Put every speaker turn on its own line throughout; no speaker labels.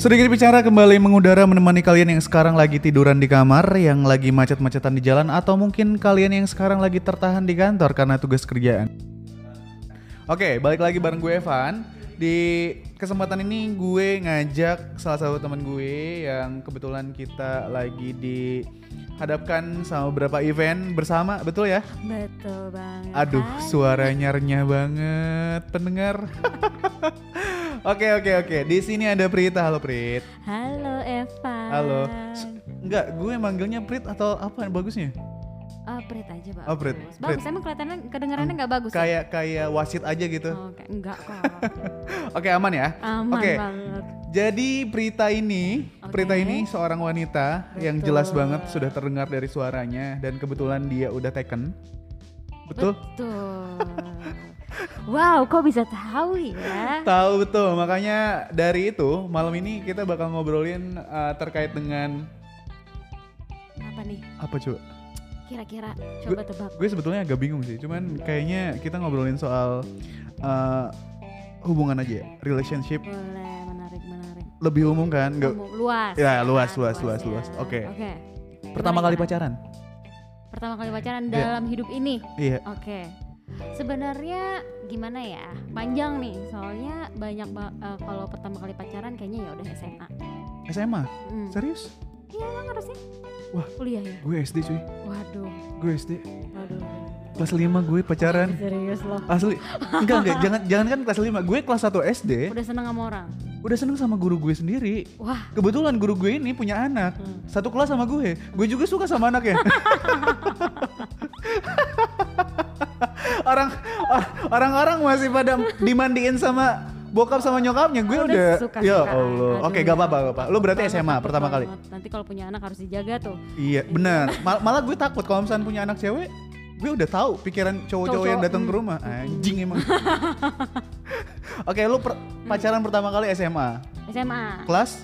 Sedikit bicara kembali mengudara menemani kalian yang sekarang lagi tiduran di kamar, yang lagi macet-macetan di jalan, atau mungkin kalian yang sekarang lagi tertahan di kantor karena tugas kerjaan. Oke, balik lagi bareng gue Evan. Di kesempatan ini gue ngajak salah satu teman gue yang kebetulan kita lagi dihadapkan sama beberapa event bersama, betul ya?
Betul banget. kan?
Aduh,
Hai.
suaranya renyah banget, pendengar. Oke, oke, oke. Di sini ada Prita. Halo, Prit.
Halo Eva.
Halo. S- Enggak, gue manggilnya Prit atau apa bagusnya?
Oh, Prit aja, Pak.
Oh, Prit, Prit.
Bagus, emang kelihatannya kedengarannya nggak bagus. ya?
Kayak kayak wasit aja gitu.
Oh, kayak- enggak kok. Oh.
Oke, aman ya?
Aman
Oke.
banget.
Jadi Prita ini, Prita
Oke.
ini seorang wanita yang
Betul.
jelas banget sudah terdengar dari suaranya dan kebetulan dia udah taken. Betul?
Betul. wow, kok bisa tahu ya?
Tahu betul, makanya dari itu malam ini kita bakal ngobrolin uh, terkait dengan
Apa nih?
apa coba?
Kira-kira coba tebak.
Gue sebetulnya agak bingung sih, cuman kayaknya kita ngobrolin soal uh, hubungan aja ya, relationship
Boleh, menarik, menarik.
lebih umum kan? Nggak-
Kamu luas.
Ya,
kan?
luas, luas, luas, luas.
ya.
Oke.
Oke.
Pertama
Gimana,
kali
gimana?
pacaran?
Pertama kali pacaran
Iya.
dalam hidup ini.
Iya.
Oke. Sebenarnya gimana ya? Panjang nih, soalnya banyak ba- eh, kalau pertama kali pacaran kayaknya ya udah SMA.
SMA?
Hmm.
Serius?
Iya lah harusnya.
Wah.
Kuliah ya.
Gue SD cuy,
Waduh.
gue SD.
Waduh.
Kelas 5 gue pacaran.
Serius loh.
Asli. Enggak, enggak, jangan jangan kan kelas 5. Gue kelas 1 SD
Udah seneng sama orang.
udah seneng sama guru gue sendiri.
Wah.
Kebetulan guru gue ini punya anak.
Hmm.
Satu kelas sama gue. Gue juga suka sama anaknya. orang or- orang-orang masih pada dimandiin sama bokap sama nyokapnya. Gue udah,
suka
ya Allah. Oke, gak apa-apa, gak apa. Lo berarti SMA pertama kali.
Nanti kalau punya anak harus dijaga tuh.
Iya, benar. Mal- malah gue takut kalau misalnya punya anak cewek, gue udah tahu pikiran cowok-cowok Hmm. yang
Cowok-cowok,
datang ke
mm,
rumah. Anjing emang. Oke, lu per- pacaran pertama kali SMA.
SMA
Kelas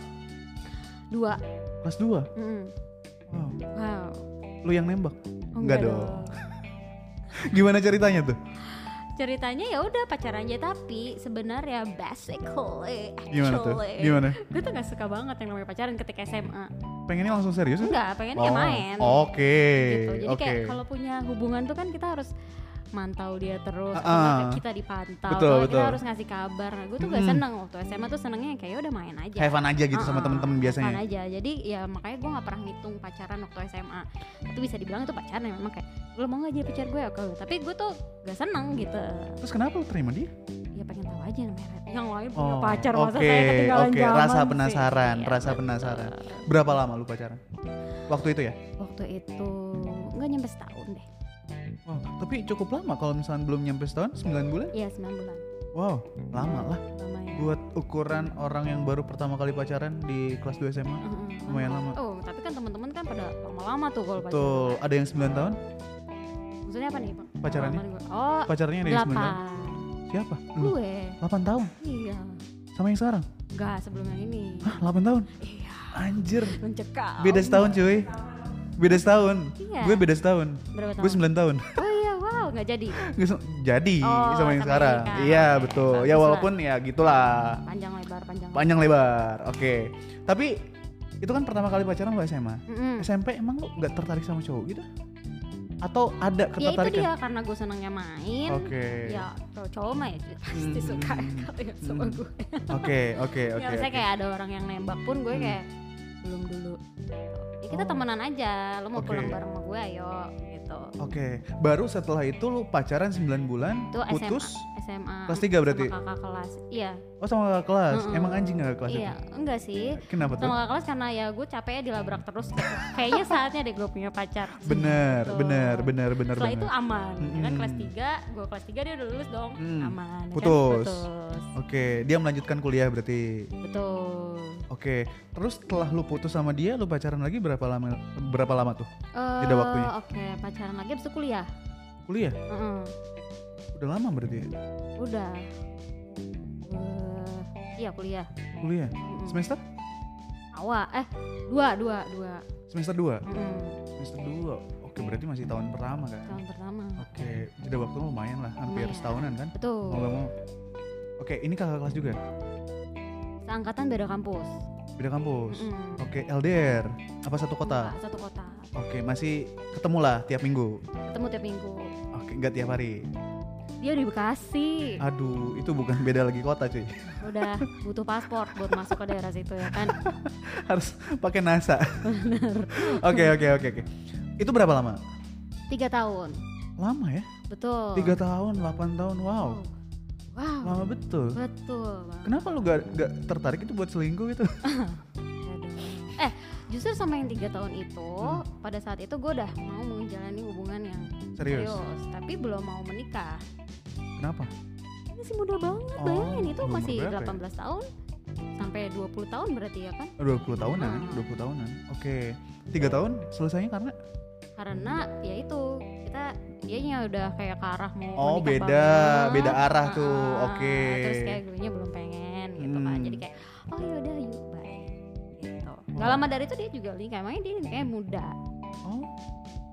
dua.
kelas 2.
Mm.
Wow.
Wow.
Lu yang nembak?
Oh,
Enggak dong. Gimana ceritanya tuh?
Ceritanya ya udah pacaran aja tapi sebenarnya basically actually.
Gimana tuh? Gimana?
Gue tuh gak suka banget yang namanya pacaran ketika SMA.
Pengennya langsung serius? ya?
Enggak, pengennya ya
Hmm. Oh,
main.
Oke.
gitu. Jadi
Oke.
kayak kalau punya hubungan tuh kan kita harus mantau dia terus,
Ah,
kalau nggak
ah.
kita dipantau,
Betul,
kalau
betul.
kita harus ngasih kabar. Nah, gue tuh gak
Mm-mm.
seneng waktu SMA tuh senengnya kayak ya udah main aja.
Have fun aja gitu sama
Ah,
temen-temen
have
biasanya.
fun aja. Jadi ya makanya gue gak pernah ngitung pacaran waktu SMA. Itu bisa dibilang itu pacaran ya, memang kayak lo mau gak jadi pacar gue Oke, gitu. Tapi gue tuh gak seneng gitu.
Terus kenapa lu terima dia?
Ya pengen tahu aja yang merah. Yang lain punya
Oh,
pacar masa
oke,
saya ketinggalan
oke.
zaman
Rasa
sih.
penasaran,
Iya,
rasa
betul.
penasaran. Berapa lama lu pacaran? Waktu itu ya?
Waktu itu nggak nyampe setahun deh.
Wow, tapi cukup lama kalau misalnya belum nyampe setahun, 9 bulan?
Iya 9 bulan.
Wow, lama lah.
Lama ya.
Buat ukuran orang yang baru pertama kali pacaran di kelas 2 SMA.
Mm-mm,
Lumayan lama.
Oh, tapi kan teman-teman kan pada lama-lama tuh kalau pacaran.
Betul, ada yang 9 tahun
Maksudnya apa nih, Bang?
pacarannya?
Pengalaman gue. Oh,
Pacarnya ada yang 9
delapan. Hmm.
tahun? Siapa? Lu?
Gue.
8 tahun?
Iya.
Sama yang sekarang?
Enggak, sebelum yang ini.
Hah, 8 tahun?
Iya,
Anjir,
mencekam.
beda setahun cuy. Beda setahun.
Iya.
Gue beda setahun.
Berapa
Gue
tahun?
9 tahun.
Oh iya, wow, enggak jadi.
Gue se- Jadi
Oh,
sama yang
sama yang
sekarang.
sekarang.
Iya,
Oke,
betul.
bagus
Ya
lah.
walaupun ya gitulah.
Panjang lebar, panjang. lebar.
Panjang lebar. Oke. Tapi itu kan pertama kali pacaran lo SMA.
Mm-mm.
SMP emang lo gak tertarik sama cowok gitu? Atau ada
Ya itu
ketertarikan?
dia karena gue senangnya main.
Oke.
Ya, kalau cowok mah ya pasti suka
Mm-mm.
kali ya sama
Mm.
gue.
Oke, oke,
Ya,
oke.
maksudnya
oke.
kayak ada orang yang nembak pun gue
Hmm.
kayak belum dulu. Ya kita
Oh.
temenan aja, lo mau
Oke.
pulang bareng sama gue ayo gitu.
Oke, baru setelah itu lu pacaran 9 bulan,
Itu SMA.
putus.
SMA.
Kelas tiga berarti?
Hmm. Sama kakak kelas. Iya.
Oh sama kakak kelas.
Mm-mm.
Emang anjing kakak kelas
iya, enggak sih.
itu? Kenapa tuh?
Sama kakak kelas karena ya gue capek ya dilabrak terus. Kayaknya saatnya deh gue punya pacar.
Bener,
Gitu.
bener, bener, bener
Setelah
banget.
itu aman. Ya kan
Mm-mm.
kelas 3, gue kelas 3 dia udah lulus dong.
Mm.
Aman. ya kan?
Putus.
Putus.
Oke, dia melanjutkan kuliah berarti.
Betul.
Oke, terus setelah lu putus sama dia, lu pacaran lagi berapa lama? Berapa lama tuh? Jeda
Eh,
waktunya.
Oke, pacaran lagi abis itu kuliah.
Kuliah?
Heeh.
Udah lama berarti. ya?
Udah. Eh, iya kuliah.
Kuliah.
Mm-mm.
Semester?
Awal eh dua dua dua.
Semester 2.
Mm-mm.
Semester 2. Oke, berarti masih tahun pertama kan?
Tahun pertama.
Oke, jeda waktu lumayan lah, hampir
Lumayan.
setahunan kan? Mau
Betul.
gak mau. Oke, ini kakak kelas juga.
Seangkatan beda kampus.
Beda kampus.
Mm-mm.
Oke, LDR. Apa satu kota?
Enggak, satu kota
Oke, masih ketemu lah tiap minggu.
ketemu tiap minggu
Oke, nggak tiap hari.
dia di
Ah.
Bekasi
Aduh, itu bukan beda lagi kota cuy.
udah butuh paspor buat masuk ke daerah situ ya kan
Harus pakai NASA. Oke, oke, oke, oke. Itu berapa lama?
tiga tahun
Lama ya?
betul
Tiga tahun, 8 tahun. Wow,
Oh. wow
lama betul.
betul Bang.
Kenapa lu gak, gak tertarik itu buat selingkuh gitu?
Aduh. eh justru sama yang tiga tahun itu
Hmm.
pada saat itu gue udah mau menjalani hubungan yang
Serius?
serius tapi belum mau menikah
Kenapa?
Ini masih muda banget
Oh,
bayangin itu
umur
masih
berapa ya?
18 tahun sampai 20 tahun berarti ya kan
20 tahunan, 20 tahunan. Oke. Tiga tahun selesainya karena
karena ya itu kita dianya udah kayak ke arah mau
Hmm. Oh,
menikah
beda,
banget.
beda arah tuh.
Ah,
Oke.
terus kayak gue nya belum pengen gitu kan
Hmm.
jadi kayak oh yaudah yuk bye gitu nggak
Wow.
lama dari itu dia juga nikah emangnya dia nikahnya muda
oh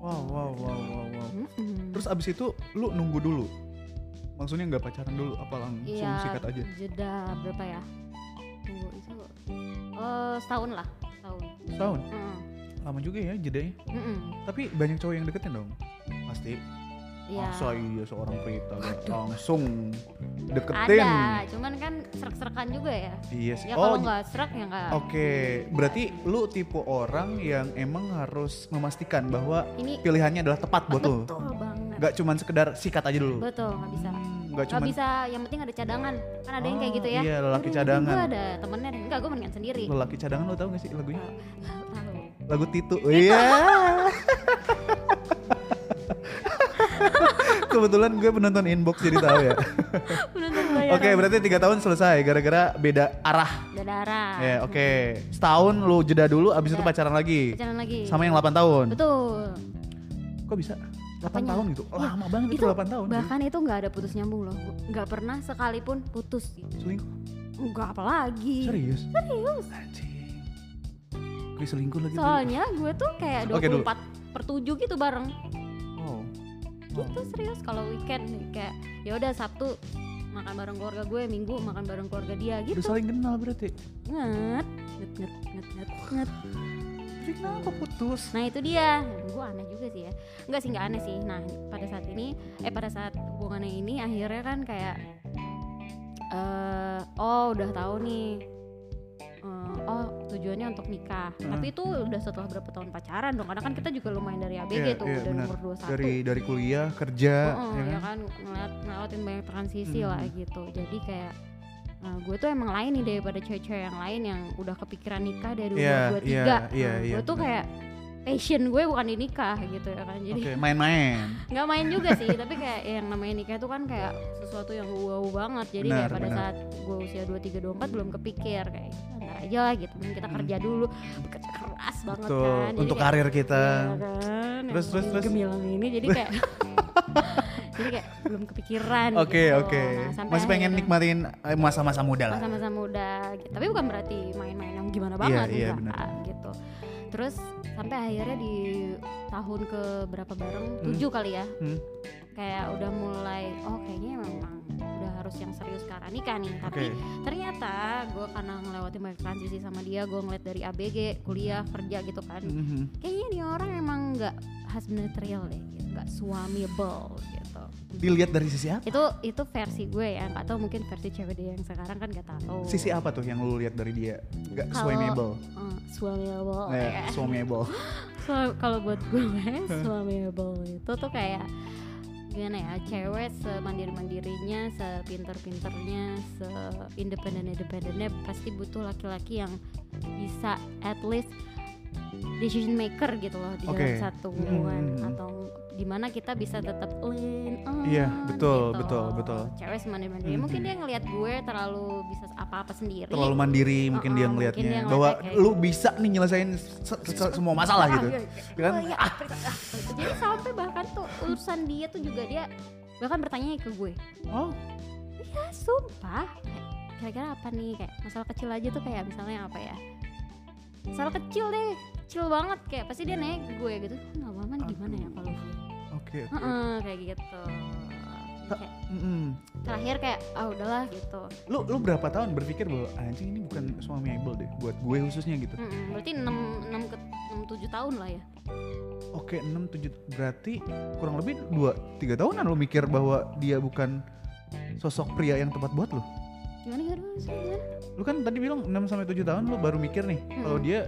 wow wow wow wow wow.
Mm-mm.
Hmm. Terus abis itu lu nunggu dulu. Maksudnya nggak pacaran dulu apa langsung
Iya,
sikat aja?
jeda berapa ya tunggu itu eh setahun lah setahun hmm.
Setahun.
Mm.
Lama juga ya jedanya.
Mm-mm.
Tapi banyak cowok yang deketin dong. Pasti.
Iya.
Masa iya seorang Prita gak langsung deketin.
ada cuman kan serak-serakan juga ya
Iya sih.
ya
oh,
kalau nggak serak ya nggak
Oke, berarti lu tipe orang yang emang harus memastikan bahwa
ini
pilihannya adalah tepat buat lu.
betul banget
Gak cuman sekedar sikat aja dulu.
betul nggak bisa
Hmm, Gak
nggak
cuman
bisa yang penting ada cadangan kan ada yang kayak
Ah,
gitu ya
iya, lelaki
Aduh,
cadangan.
gue ada temennya enggak gue mendingan sendiri
lelaki cadangan lu tau gak sih lagunya?
Tahu.
Lagu Titu. Iya. Kebetulan gue penonton inbox jadi tahu ya.
penonton bayaran
Oke, berarti tiga tahun selesai gara-gara beda arah.
Udah darah
Ya, oke. Setahun lu jeda dulu abis itu
Nah. Iya.
pacaran lagi.
pacaran lagi
Sama yang 8 tahun.
betul
Kok bisa? 8
Apanya?
tahun gitu.
Iya,
Lama banget itu,
itu
8 tahun. cuy.
bahkan itu nggak ada putus nyambung loh nggak pernah sekalipun putus gitu
Selingkuh.
nggak apalagi
Serius? Serius. Anjing. Gue selingkuh lagi. tuh.
soalnya gue tuh kayak 24
Oke, dulu.
per 7 gitu bareng
Wow. Oh.
gitu serius kalau weekend nih, kayak ya udah Sabtu makan bareng keluarga gue Minggu makan bareng keluarga dia
Udah
gitu
saling kenal berarti.
nget nget nget nget nget, nget.
Tapi kenapa putus?
nah itu dia gue aneh juga sih ya nggak sih nggak aneh sih nah pada saat ini eh pada saat hubungannya ini akhirnya kan kayak eh oh udah tahu nih Eh, oh tujuannya untuk nikah
Hmm.
tapi itu udah setelah berapa tahun pacaran dong karena kan kita juga lumayan dari ABG
Iya,
tuh
iya,
udah
benar.
umur 21
Dari dari kuliah, kerja,
Heeh,
ya
ya
kan?
kan ngeliat ngelawatin banyak transisi lah
Mhm.
gitu jadi kayak nah, gue tuh emang lain nih daripada cewek-cewek yang lain yang udah kepikiran nikah dari umur
Iya,
dua
iya,
tiga Nah,
iya, iya,
gue tuh
benar.
kayak passion gue bukan di nikah gitu ya kan jadi
Oke, main-main.
nggak main juga sih tapi kayak yang namanya nikah tuh kan kayak sesuatu yang wow banget jadi
Benar,
kayak pada
benar.
saat gue usia 23 24 belum kepikir kayak ntar aja lah gitu mending kita
Mm.
kerja dulu bekerja keras banget
Betul.
kan Jadi
Untuk
kayak-
karir kita.
Iya kan,
Terus,
yang
terus, terus.
gemilang ini jadi kayak jadi kayak belum kepikiran
Oke,
gitu.
oke.
Nah, sampai
Masih pengen
akhirnya
nikmatin eh, masa-masa muda lah.
sama-sama muda gitu. tapi bukan berarti main-main yang gimana banget
iya,
enggak,
benar.
gitu terus sampai akhirnya di tahun ke berapa bareng
Hmm.
tujuh kali ya
Hmm.
kayak udah mulai oh kayaknya memang udah harus yang serius ke arah nikah nih tapi
Oke.
ternyata gue karena ngelewatin banyak transisi sama dia gue ngeliat dari ABG kuliah kerja gitu kan
Mhm.
kayaknya nih orang emang nggak husband material deh gitu nggak suamiable gitu
Dilihat dari sisi apa?
itu itu versi gue ya nggak tahu mungkin versi cewek dia yang sekarang kan nggak tahu
Sisi apa tuh yang lu lihat dari dia? Gak
Kalau-
suamiable.
Eh, suamiable ya.
Eh, suamiable.
So, kalau buat gue suamiable itu tuh kayak gimana ya cewek semandiri mandirinya sepinter pinternya se independen independennya pasti butuh laki-laki yang bisa at least decision maker gitu loh di
Oke.
dalam satu hubungan
Hmm.
atau dimana kita bisa tetap lean on
Iya, betul,
gitu.
betul, betul.
cewek semandiri mandiri mungkin
Mhm.
dia ngelihat gue terlalu bisa apa apa sendiri
terlalu mandiri mungkin dia
Uh-uh, mungkin
ngelihatnya
dia ngeliatnya
bahwa
kayak-
lu bisa nih nyelesain se- se- semua masalah gitu
Ah,
Ya kan?
iya, iya. Jadi sampai bahkan tuh urusan dia tuh juga dia bahkan bertanya ke gue.
oh
Ya sumpah. Kayak, Kira-kira apa nih kayak masalah kecil aja tuh kayak misalnya apa ya? Masalah kecil deh, kecil banget kayak pasti
gitu.
dia nanya ke gue gitu. Nah, Maman gimana ya kalau
oke oke.
Heeh, kayak gitu. Kayak,
Mm-mm.
terakhir kayak ah udahlah gitu
Lu lu berapa tahun berpikir bahwa anjing ini bukan suami able deh buat gue khususnya gitu.
Mm-mm, berarti 6 6 ke 6 7 tahun lah ya
Oke, 6 7 berarti kurang lebih 2 3 tahunan lu mikir bahwa dia bukan sosok pria yang tepat buat lu.
gimana gimana gimana, gimana?
Lu kan tadi bilang 6 sampai 7 tahun lu baru mikir nih kalau
Mm.
dia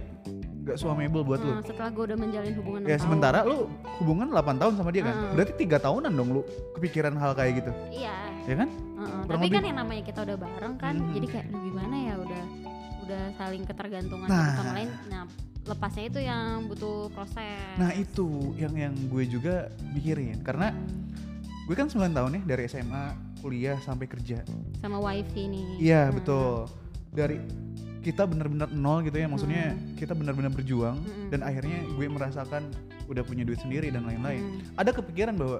nggak suamiable buat lu.
Nah, setelah gue udah menjalin hubungan
Ya
6 tahun.
sementara lu hubungan 8 tahun sama dia kan.
Mm.
Berarti 3 tahunan dong lu kepikiran hal kayak gitu.
iya
Ya kan?
heeh.
Kurang
tapi
lebih-
kan yang namanya kita udah bareng kan
Mhm.
jadi kayak "Aduh, gimana ya udah udah saling ketergantungan
Nah.
satu sama lain nah lepasnya itu yang butuh proses
Nah, itu yang yang gue juga mikirin karena
Hmm.
gue kan 9 tahun ya dari SMA, kuliah sampai kerja.
sama wifi nih
Iya
Hmm.
betul. Dari kita benar-benar nol gitu ya, maksudnya
Hmm.
kita benar-benar berjuang
Mm-mm.
dan akhirnya gue merasakan udah punya duit sendiri dan lain-lain.
Hmm.
Ada kepikiran bahwa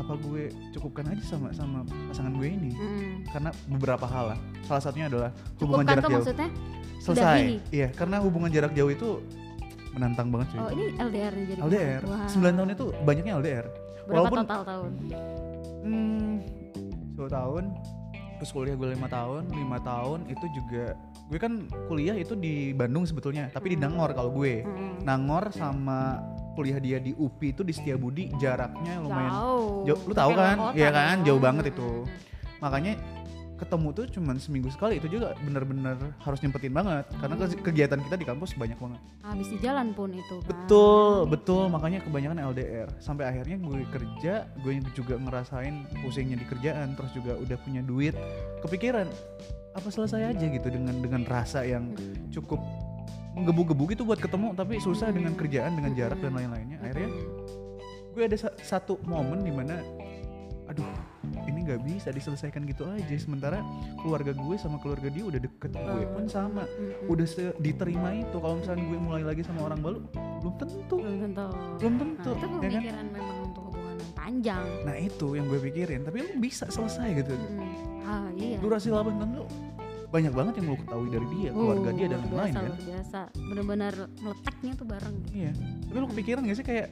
apa gue cukupkan aja sama sama pasangan gue ini?
Hmm.
Karena beberapa hal lah. Salah satunya adalah hubungan
Cukupkan
jarak
tuh
jauh.
maksudnya
Selesai.
sudahi.
Iya, karena hubungan jarak jauh itu menantang banget cuy.
oh ini LDR nih jadi
LDR,
Wah.
9 tahun itu banyaknya LDR.
berapa
walaupun-
total tahun
Hmm, 2 tahun terus kuliah gue lima tahun lima tahun itu juga gue kan kuliah itu di Bandung sebetulnya tapi di
Hmm.
Nangor kalau gue
Hmm.
Nangor sama kuliah dia di UPI itu di Setiabudi jaraknya lumayan
jauh
Jauh, lu tahu
Tapi
kan?
luar kota ya. Hmm,
Iya kan?
dong.
Jauh banget itu.
Mm-mm.
makanya ketemu tuh cuman seminggu sekali itu juga bener-bener harus nyempetin banget karena ke-
Hmm.
kegiatan kita di kampus banyak banget
habis di jalan pun itu kan.
betul betul makanya kebanyakan LDR sampai akhirnya gue kerja gue juga ngerasain pusingnya di kerjaan terus juga udah punya duit kepikiran apa selesai aja gitu dengan dengan rasa yang
Mm.
cukup menggebu-gebu gitu buat ketemu tapi susah
Hmm.
dengan kerjaan dengan jarak dan
Hmm.
lain-lainnya akhirnya gue ada sa- satu momen dimana aduh ini nggak bisa diselesaikan gitu aja sementara keluarga gue sama keluarga dia udah deket gue pun sama
Mm-mm.
udah se- diterima itu kalau misalnya gue mulai lagi sama orang baru belum tentu
belum tentu
belum
nah,
tentu
itu
ya kan?
pemikiran memang untuk hubungan yang panjang
nah itu yang gue pikirin tapi lu bisa selesai gitu
Mm-mm. ah iya
durasi 8 tahun lu banyak banget yang lu ketahui dari dia keluarga dia dan
Uh, luar
lain-lain
biasa,
kan
luar biasa benar-benar meletaknya tuh bareng gitu.
iya tapi lu kepikiran gak sih kayak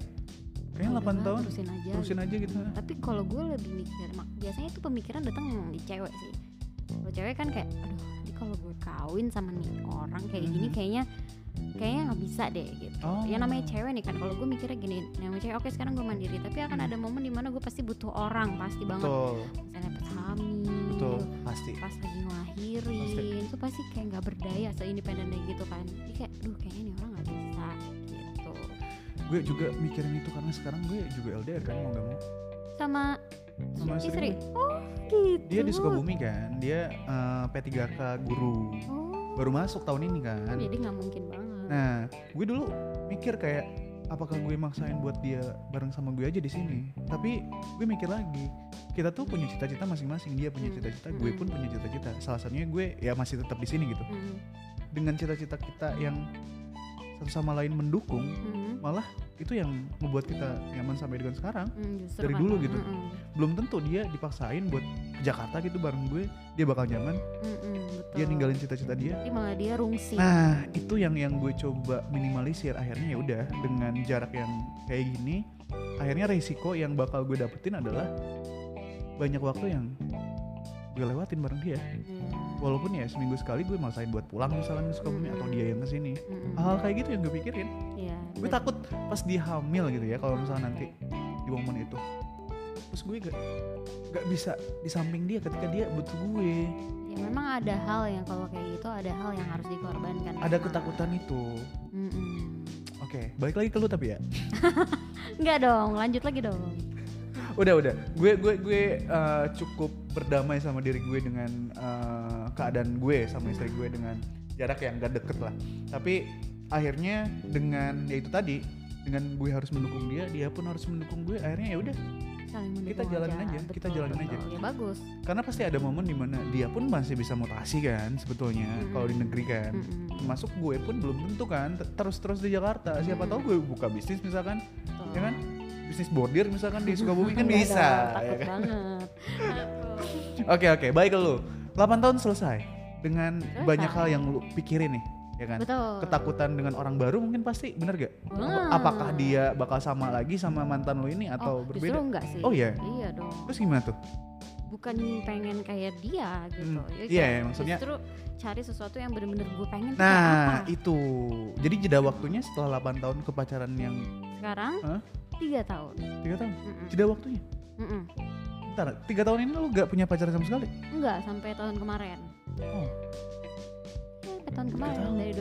kayaknya 8
Udah lah,
tahun
terusin aja
terusin aja gitu
tapi kalau gue lebih mikir mak biasanya itu pemikiran datang di cewek sih kalau cewek kan kayak aduh nanti kalau gue kawin sama nih orang kayak gini
Mhm.
kayaknya kayaknya nggak bisa deh gitu
oh
ya namanya cewek nih kan kalau gue mikirnya gini namanya cewek oke sekarang gue mandiri tapi akan ada momen dimana gue pasti butuh orang pasti banget
Hmm.
Hmm.
betul betul
misalnya pas hamil
pasti
pas lagi ngelahirin
Pasti.
itu pasti kayak nggak berdaya seindependennya gitu kan jadi kayak duh kayaknya nih orang nggak bisa gitu
gue juga mikirin itu karena sekarang gue juga LDR kan mau gak mau
sama,
Sama
istri
istri.
oh gitu
dia di Sukabumi kan dia eh, P3K guru
oh
baru masuk tahun ini kan
jadi nggak mungkin banget
nah gue dulu mikir kayak apakah gue maksain buat dia bareng sama gue aja di sini tapi gue mikir lagi kita tuh punya cita-cita masing-masing dia punya
Hmm.
cita-cita gue pun punya cita-cita salah satunya gue ya masih tetap di sini gitu
Mm,
dengan cita-cita kita yang satu sama lain mendukung
mm,
malah itu yang membuat kita nyaman sampai dengan sekarang
mm, justru
Dari
kan.
dulu gitu.
Mm, mm,
belum tentu dia dipaksain buat ke Jakarta gitu bareng gue dia bakal nyaman
mm, mm, betul.
dia ninggalin cita-cita dia
Tapi malah dia rungsi Iya.
nah itu yang yang gue coba minimalisir akhirnya ya udah dengan jarak yang kayak gini akhirnya resiko yang bakal gue dapetin adalah banyak waktu yang gue lewatin bareng dia
Mm,
walaupun ya seminggu sekali gue maksain buat pulang misalnya ke Sukabumi atau dia yang kesini
mm,
hal kayak gitu yang gue pikirin
iya,
gue
betul.
takut pas dia hamil gitu ya kalau misalnya nanti di momen itu terus gue gak gak bisa di samping dia ketika dia butuh gue
ya memang ada hal yang kalau kayak gitu ada hal yang harus dikorbankan
ada
memang.
ketakutan itu
Mm, mm.
oke balik lagi ke lu tapi ya
nggak dong lanjut lagi dong
udah udah gue gue gue eh, cukup berdamai sama diri gue dengan eh, keadaan gue sama istri gue dengan jarak yang gak deket lah tapi akhirnya dengan ya itu tadi dengan gue harus mendukung dia dia pun harus mendukung gue akhirnya ya udah
saling
Kita
mendukung
jalanin aja, kita jalanin aja. Kan?
betul. ya bagus
karena pasti ada momen dimana dia pun masih bisa mutasi kan sebetulnya
Mm-mm.
kalau di negeri kan
Mm-mm.
termasuk gue pun belum tentu kan te- terus-terus di Jakarta siapa tahu gue buka bisnis misalkan
Betul.
ya kan bisnis bordir misalkan di Sukabumi kan
Iya
bisa
dong,
ya
takut
kan?
banget
oke oke baik lu 8 tahun selesai dengan
Selesai.
banyak hal yang lu pikirin nih ya ya kan
Betul.
ketakutan dengan orang baru mungkin pasti bener gak
Wah.
apakah dia bakal sama lagi sama mantan lo ini atau
oh, Justru
berbeda
enggak sih.
Oh, iya?
Iya dong.
terus gimana tuh
Bukan pengen kayak dia gitu.
Hmm,
Ya,
iya,
kayak
ya, maksudnya-
Justru cari sesuatu yang bener-bener gue pengen. tuh
nah
kayak apa.
itu jadi jeda waktunya setelah 8 tahun kepacaran yang
sekarang
Hah?
tiga tahun.
tiga tahun
Mm-mm.
jeda waktunya
Mm-mm.
Bentar, tiga tahun ini lo gak punya pacaran sama sekali
Enggak sampai tahun kemarin.
oh
Sampai tahun kemarin
tahun.
dari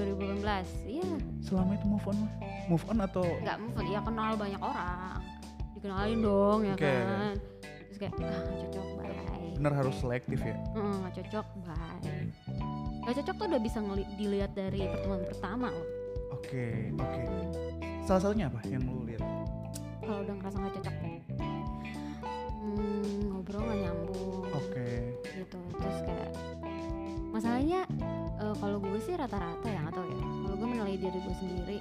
2018. Iya,
selama itu move on mah move on atau
enggak move on. Ya kenal banyak orang. Dikenalin dong ya
Oke.
kan. Terus kayak ah nggak cocok bye.
bener harus selektif ya
Mm, nggak cocok bye. Gak cocok tuh udah bisa ngeli- dilihat dari pertemuan pertama loh.
oke oke salah satunya apa yang lo lihat
Kalau udah ngerasa nggak cocok. Hmm, ngobrol nggak nyambung
oke
gitu. Terus kayak masalahnya eh, kalau gue sih rata-rata ya atau ya. Kalau gue menilai diri gue sendiri,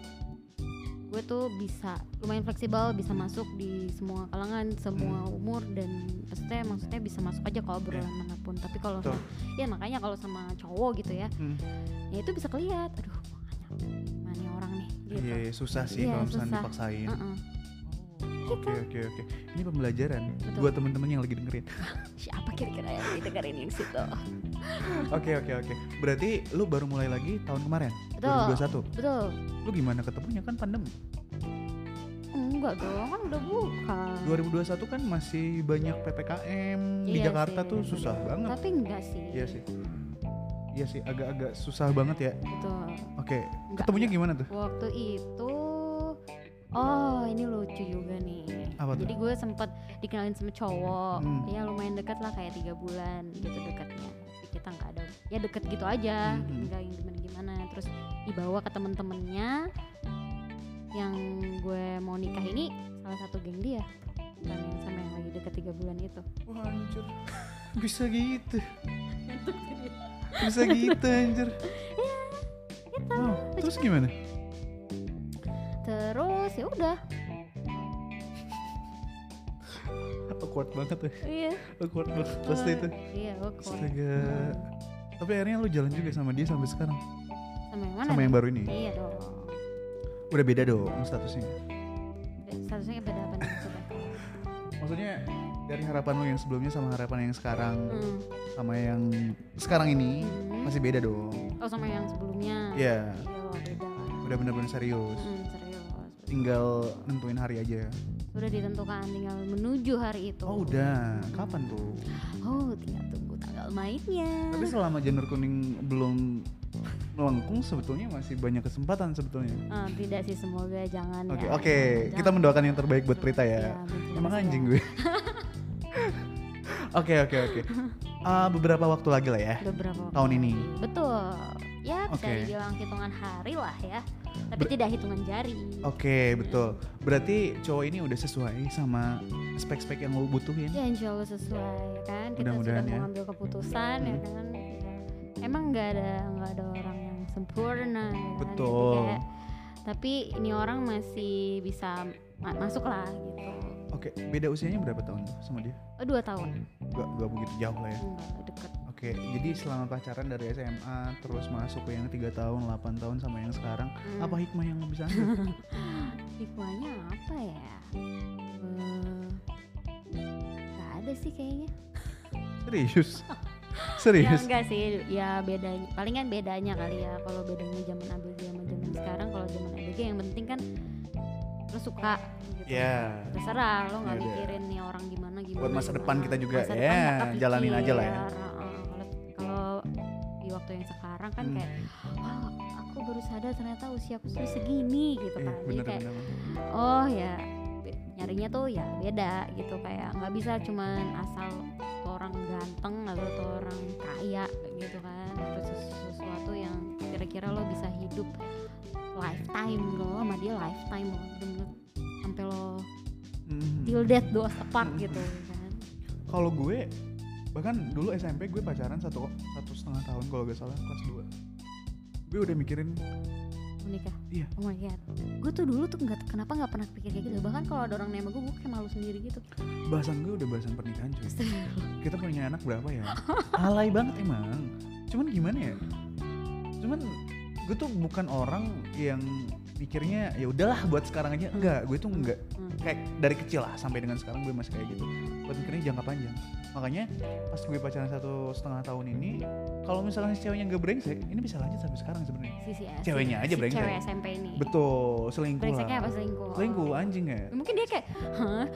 gue tuh bisa lumayan fleksibel, bisa masuk di semua kalangan, semua
Hmm.
umur dan maksudnya maksudnya bisa masuk aja kalau obrolan manapun. Tapi kalau
Iya. Betul.
sama- ya makanya kalau sama cowok gitu ya,
Hmm.
ya itu bisa kelihat. Aduh, gua nggak nyambung. mana nih orang nih gitu.
Iya, iya, susah sih
Iya,
kalau misalnya
susah.
dipaksain.
Heeh.
Oke, oke, oke. Ini pembelajaran
Betul.
buat temen-temen yang lagi dengerin.
Siapa kira-kira yang didengerin yang situ?
Oke, oke, oke. Berarti lu baru mulai lagi tahun kemarin,
Betul. Hmm.
2021.
Betul.
Lu gimana ketemunya kan pandemi?
Enggak dong, kan udah buka.
2021 kan masih banyak PPKM di
Iya
Jakarta
sih,
tuh susah
bener.
banget.
Tapi enggak sih.
Iya sih. Iya sih, agak-agak susah banget ya.
Betul.
Oke,
Enggak,
ketemunya
enggak.
gimana tuh?
Waktu itu Oh, ini lucu juga nih.
Apa tuh?
Jadi gue sempet dikenalin sama cowok,
Hmm.
ya lumayan dekat lah kayak tiga bulan gitu dekatnya. Tapi Kita nggak ada, ya deket gitu aja,
Mhm.
nggak yang gimana gimana. Terus dibawa ke temen-temennya yang gue mau nikah ini salah satu geng dia, bukan yang sama yang lagi deket tiga bulan itu.
Wah, anjir. Bisa gitu. Bisa gitu, anjir.
Iya, gitu.
Wow, terus gimana?
Terus ya udah,
Awkward banget ya.
iya.
Awkward banget pasti itu.
Iya, awkward.
Astaga. Tapi akhirnya lu jalan juga sama dia sampai sekarang.
Sama yang mana?
sama yang
nih?
baru ini.
Iya dong.
Udah beda dong statusnya.
Statusnya beda apa nih? Coba.
Maksudnya dari harapan lu yang sebelumnya sama harapan yang sekarang
Hmm.
sama yang sekarang ini
Hmm.
masih beda dong.
Oh sama yang sebelumnya?
Iya,
Iya beda lah.
udah bener-bener serius.
Hmm, serius.
Tinggal nentuin hari aja.
Sudah ditentukan tinggal menuju hari itu.
Oh, udah. Kapan tuh?
Oh tinggal tunggu tanggal mainnya.
Tapi selama janur kuning belum melengkung sebetulnya masih banyak kesempatan sebetulnya.
Ah, tidak sih semoga jangan.
Oke,
ya.
oke.
Jangan.
Kita mendoakan yang terbaik buat Prita ya.
Iya, betul
Emang
sih,
anjing
ya.
gue. Oke, oke, oke. Ah, beberapa waktu lagi lah ya.
Udah berapa? waktu
Tahun ini.
lagi? Betul. Ya bisa
Oke.
dibilang hitungan hari lah ya. Tapi
Ber-
tidak hitungan jari.
Oke, betul. Berarti cowok ini udah sesuai sama spek-spek yang lo butuhin.
Ya insya Allah sesuai kan. Kita sudah
Mudah-mudahan ya.
mengambil keputusan ya kan. Ya. Emang nggak ada nggak ada orang yang sempurna. ya kan? Jadi
Betul.
kayak, tapi ini orang masih bisa ma- masuk lah gitu.
Oke, beda usianya berapa tahun tuh sama dia?
Oh dua tahun.
Gak, gak begitu jauh lah ya.
Enggak deket.
Oke, jadi selama pacaran dari SMA terus masuk ke yang 3 tahun, 8 tahun sama yang sekarang,
Hmm.
apa hikmah yang lo bisa ambil?
Hikmahnya apa ya? Eh, Nggak ada sih kayaknya.
Serius?
Ya
Serius?
enggak sih, ya bedanya palingan bedanya kali ya kalau bedanya zaman ABG sama zaman sekarang kalau zaman ABG yang penting kan lo suka gitu.
Ya.
Terserah lo nggak
Ya udah.
mikirin nih orang gimana gimana.
Buat masa
gimana.
depan kita juga,
Masa
ya,
nggak kepikir.
jalanin aja lah ya.
Heeh, kalau- Kalau di waktu yang sekarang kan
Hmm.
kayak wah aku baru sadar ternyata usia aku sudah segini gitu
Iya,
kan. Jadi
bener,
kayak
bener, bener.
oh ya be- nyarinya tuh ya beda gitu kayak nggak bisa cuman asal tuh orang ganteng atau tuh orang kaya gitu kan harus sesu- sesuatu yang kira-kira lo bisa hidup lifetime lo sama dia lifetime lo bener sampai lo
Hmm.
till death do us apart gitu kan
Kalau gue bahkan dulu SMP gue pacaran satu satu setengah tahun kalau gak salah kelas 2 gue udah mikirin
menikah
Iya.
oh my god gue tuh dulu tuh nggak kenapa nggak pernah pikir kayak gitu bahkan kalau ada orang nembak gue gue kayak malu sendiri gitu
bahasan gue udah bahasan pernikahan cuy kita punya anak berapa ya alay banget emang cuman gimana ya cuman gue tuh bukan orang yang pikirnya ya udahlah buat sekarang aja enggak gue tuh enggak
Hmm.
kayak dari kecil lah sampai dengan sekarang gue masih kayak gitu buat mikirnya jangka panjang makanya pas gue pacaran satu setengah tahun ini kalau misalnya si ceweknya nggak brengsek ini bisa lanjut sampai sekarang sebenarnya
si, si,
Ceweknya
si-
aja
si
brengsek.
cewek SMP ini
betul selingkuh
brengseknya apa
lah
selingkuh
selingkuh anjing ya
Ya, mungkin dia kayak hah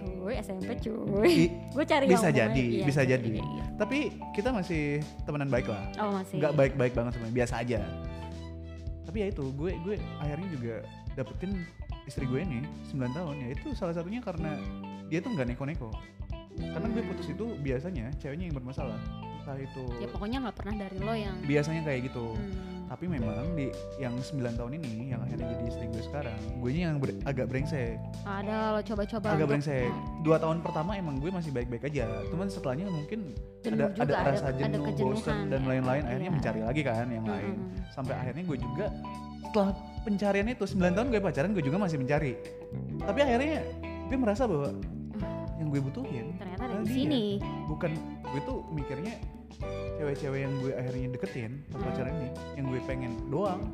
cuy SMP cuy
I-
gue cari
bisa
yang
jadi
hubungannya- iya,
bisa
bisa
jadi
jadi, iya.
tapi kita masih temenan baik lah
oh masih
nggak baik-baik banget sebenarnya biasa aja tapi ya itu gue gue akhirnya juga dapetin istri gue nih 9 tahun ya itu salah satunya karena dia tuh nggak neko-neko karena gue putus itu biasanya ceweknya yang bermasalah entah itu
ya pokoknya nggak pernah dari lo yang
biasanya kayak gitu
hmm,
tapi memang di yang 9 tahun ini yang akhirnya jadi istri gue sekarang gue yang ber- agak brengsek
ada lo coba-coba
agak
untuk- Nah,
brengsek dua tahun pertama emang gue masih baik-baik aja cuman setelahnya mungkin
Jenuh
ada
juga,
ada
ada-
rasa
ada
jenuh bosen
kejenuhan,
dan
ya.
lain-lain akhirnya
Iya.
mencari lagi kan yang lain
Mm-mm.
sampai akhirnya gue juga setelah pencarian itu 9 tahun gue pacaran gue juga masih mencari tapi akhirnya gue merasa bahwa yang gue butuhin
ternyata ada di
dia.
sini
bukan gue tuh mikirnya cewek-cewek yang gue akhirnya deketin pas pacaran ini yang gue pengen doang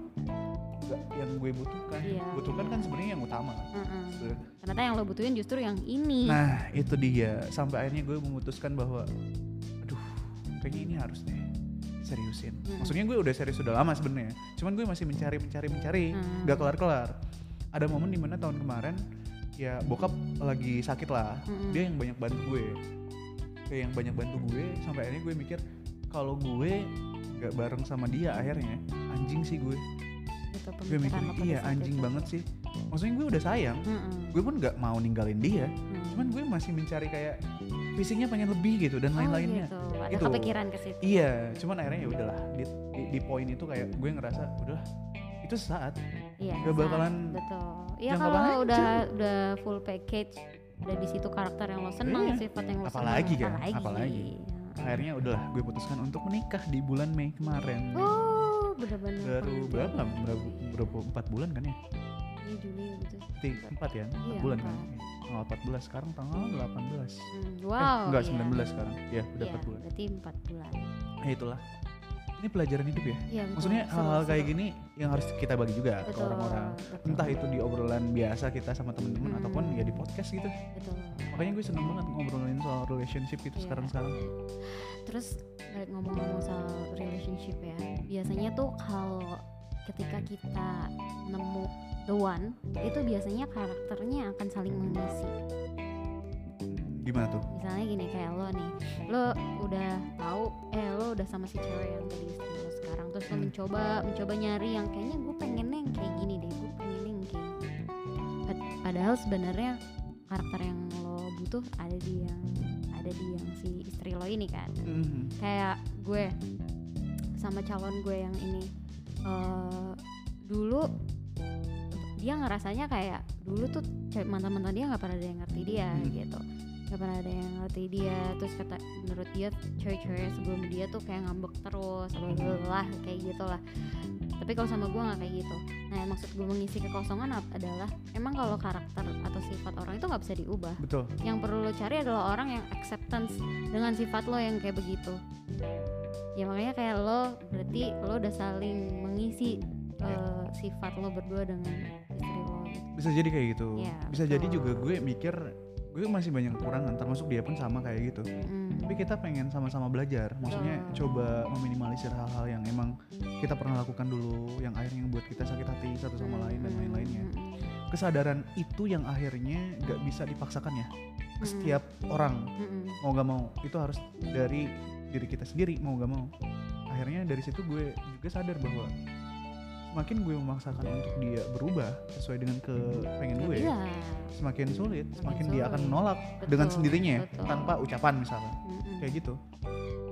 nggak yang gue butuhkan
Iya.
butuhkan kan sebenarnya yang utama kan.
Mm-mm.
Sebenarnya.
ternyata yang lo butuhin justru yang ini
Nah itu dia sampai akhirnya gue memutuskan bahwa aduh kayaknya ini harus deh seriusin.
Mm.
Maksudnya gue udah serius sudah lama sebenarnya. Cuman gue masih mencari mencari mencari
Mm.
nggak kelar kelar. Ada momen dimana tahun kemarin ya bokap lagi sakit lah.
Mm-mm.
Dia yang banyak bantu gue. Dia yang banyak bantu gue sampai akhirnya gue mikir kalau gue nggak bareng sama dia akhirnya anjing sih gue.
gitu
Gue mikir
pemikiran lo pada
iya
saat
anjing
itu.
banget sih. Maksudnya gue udah sayang.
Mm-mm.
Gue pun nggak mau ninggalin dia
Mm.
cuman gue masih mencari kayak visinya pengen lebih gitu dan
Oh,
lain-lainnya
gitu. ada
Gitu.
kepikiran ke situ
iya cuman akhirnya ya udahlah di, di, di poin itu kayak gue ngerasa udahlah itu saat
Iya,
Gak
saat-
bakalan
betul. Iya
jangka
kalau
panjang.
udah udah full package, udah di situ karakter yang lo seneng,
Iya.
sifat yang lo
Apalagi
seneng,
kan, apalagi. akhirnya udahlah gue putuskan untuk menikah di bulan Mei kemarin
Oh, bener-bener.
baru
penting.
berapa berapa berapa empat bulan kan ya
Iya Juli gitu.
Ti- empat ya empat
Iya,
bulan kan
empat.
Ya. tanggal 14 sekarang tanggal 18
Hmm,
eh,
wow.
enggak
iya.
19 sekarang ya udah
Iya,
empat bulan
Berarti empat bulan.
ya itulah ini pelajaran hidup ya
Iya, betul.
maksudnya
Seru,
hal-hal kayak
seru.
gini yang harus kita bagi juga ke
Betul,
orang-orang
betul.
entah itu di obrolan biasa kita sama temen-temen
Hmm.
ataupun ya di podcast gitu
Betul.
makanya gue seneng banget ngobrolin soal relationship gitu itu
Iya.
sekarang-sekarang
Terus balik ngomong-ngomong soal relationship ya. Biasanya tuh kalau ketika kita nemu the one, itu biasanya karakternya akan saling mengisi.
gimana tuh
misalnya gini kayak lo nih lo udah tahu eh lo udah sama si cewek yang jadi istri lo sekarang terus lo
Hmm.
mencoba mencoba nyari yang kayaknya gue pengennya yang kayak gini deh gue pengennya yang kayak gini. Pad- padahal sebenarnya karakter yang lo butuh ada di yang ada di yang si istri lo ini kan
Hmm.
kayak gue sama calon gue yang ini eh, dulu dia ngerasanya kayak dulu tuh cewek- mantan-mantan dia nggak pernah ada yang ngerti dia
Hmm.
gitu nggak pernah ada yang ngerti dia terus kata menurut dia cewek-cewek sebelum dia tuh kayak ngambek terus lah kayak gitu lah tapi kalau sama gue nggak kayak gitu nah yang maksud gue mengisi kekosongan ap- adalah emang kalau karakter atau sifat orang itu nggak bisa diubah
betul
yang perlu lo cari adalah orang yang acceptance dengan sifat lo yang kayak begitu ya makanya kayak lo berarti lo udah saling mengisi
Iya.
eh, sifat lo berdua dengan istri lo gitu.
bisa jadi kayak gitu
Iya,
bisa jadi
betul.
juga gue mikir gue masih banyak kekurangan termasuk dia pun sama kayak gitu
Mm.
tapi kita pengen sama-sama belajar maksudnya
Betul.
coba meminimalisir hal-hal yang emang kita pernah lakukan dulu yang akhirnya buat kita sakit hati satu sama lain dan
Mm,
lain-lainnya
mm,
kesadaran itu yang akhirnya nggak bisa dipaksakan ya ke
Mm.
setiap orang
mm, mm,
mau gak mau itu harus dari diri kita sendiri mau gak mau akhirnya dari situ gue juga sadar bahwa semakin gue memaksakan untuk dia berubah sesuai dengan kepengen
mm.
gue ya.
Iya.
semakin sulit semakin
Semakin
dia akan
sulit.
menolak
Betul,
dengan sendirinya ya,
betul.
tanpa ucapan misalnya
Mm, mm,
kayak gitu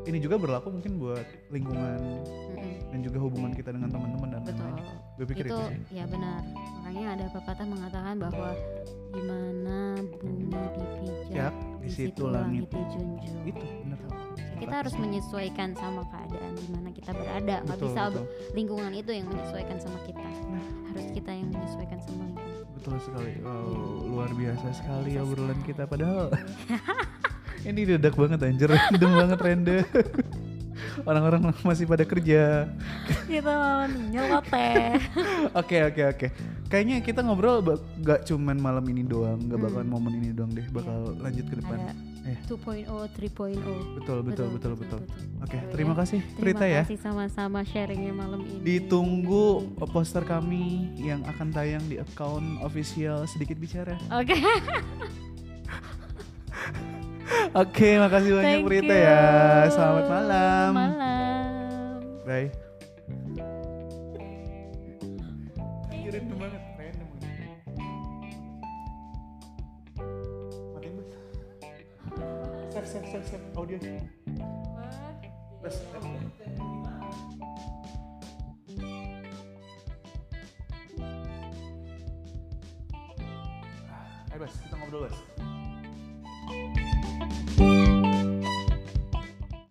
ini juga berlaku mungkin buat lingkungan
mm, mm.
dan juga hubungan kita dengan teman-teman dan
Betul.
lain-lain gue gitu. Nah, pikir itu,
Itu
sih
ya benar. Makanya ada pepatah mengatakan bahwa gimana bumi dipijak,
Siap, Ya, di situ langit
dijunjung.
itu bener
Betul. Kita harus menyesuaikan sama keadaan di mana kita berada. Nggak
Betul,
bisa
betul. Nah.
lingkungan itu yang menyesuaikan sama kita. Harus kita yang menyesuaikan sama lingkungan.
Betul sekali. Wow, luar biasa sekali ya obrolan kita padahal. ini dedak banget anjir, random banget rende. Orang-orang masih pada kerja.
gitu nyeloteh
Oke oke oke. Kayaknya kita ngobrol ba- gak cuman malam ini doang, gak bakalan momen ini doang deh. Bakal lanjut ke depan.
Hmm. Iya. ada
Eh,
2.0 3.0
betul betul betul betul. Oke,
Betul
terima
ya.
kasih
terima
Prita ya.
kasih sama-sama sharingnya malam ini
Ditunggu poster kami yang akan tayang di account official sedikit bicara.
oke
Oke, makasih banyak
thank
Prita
you.
ya. Selamat malam.
malam
Bye. Ini random banget, random banget. Matiin mas. Save, save, save, save. Audio. Plus, eh. Ayo Bas, kita ngobrol Bas.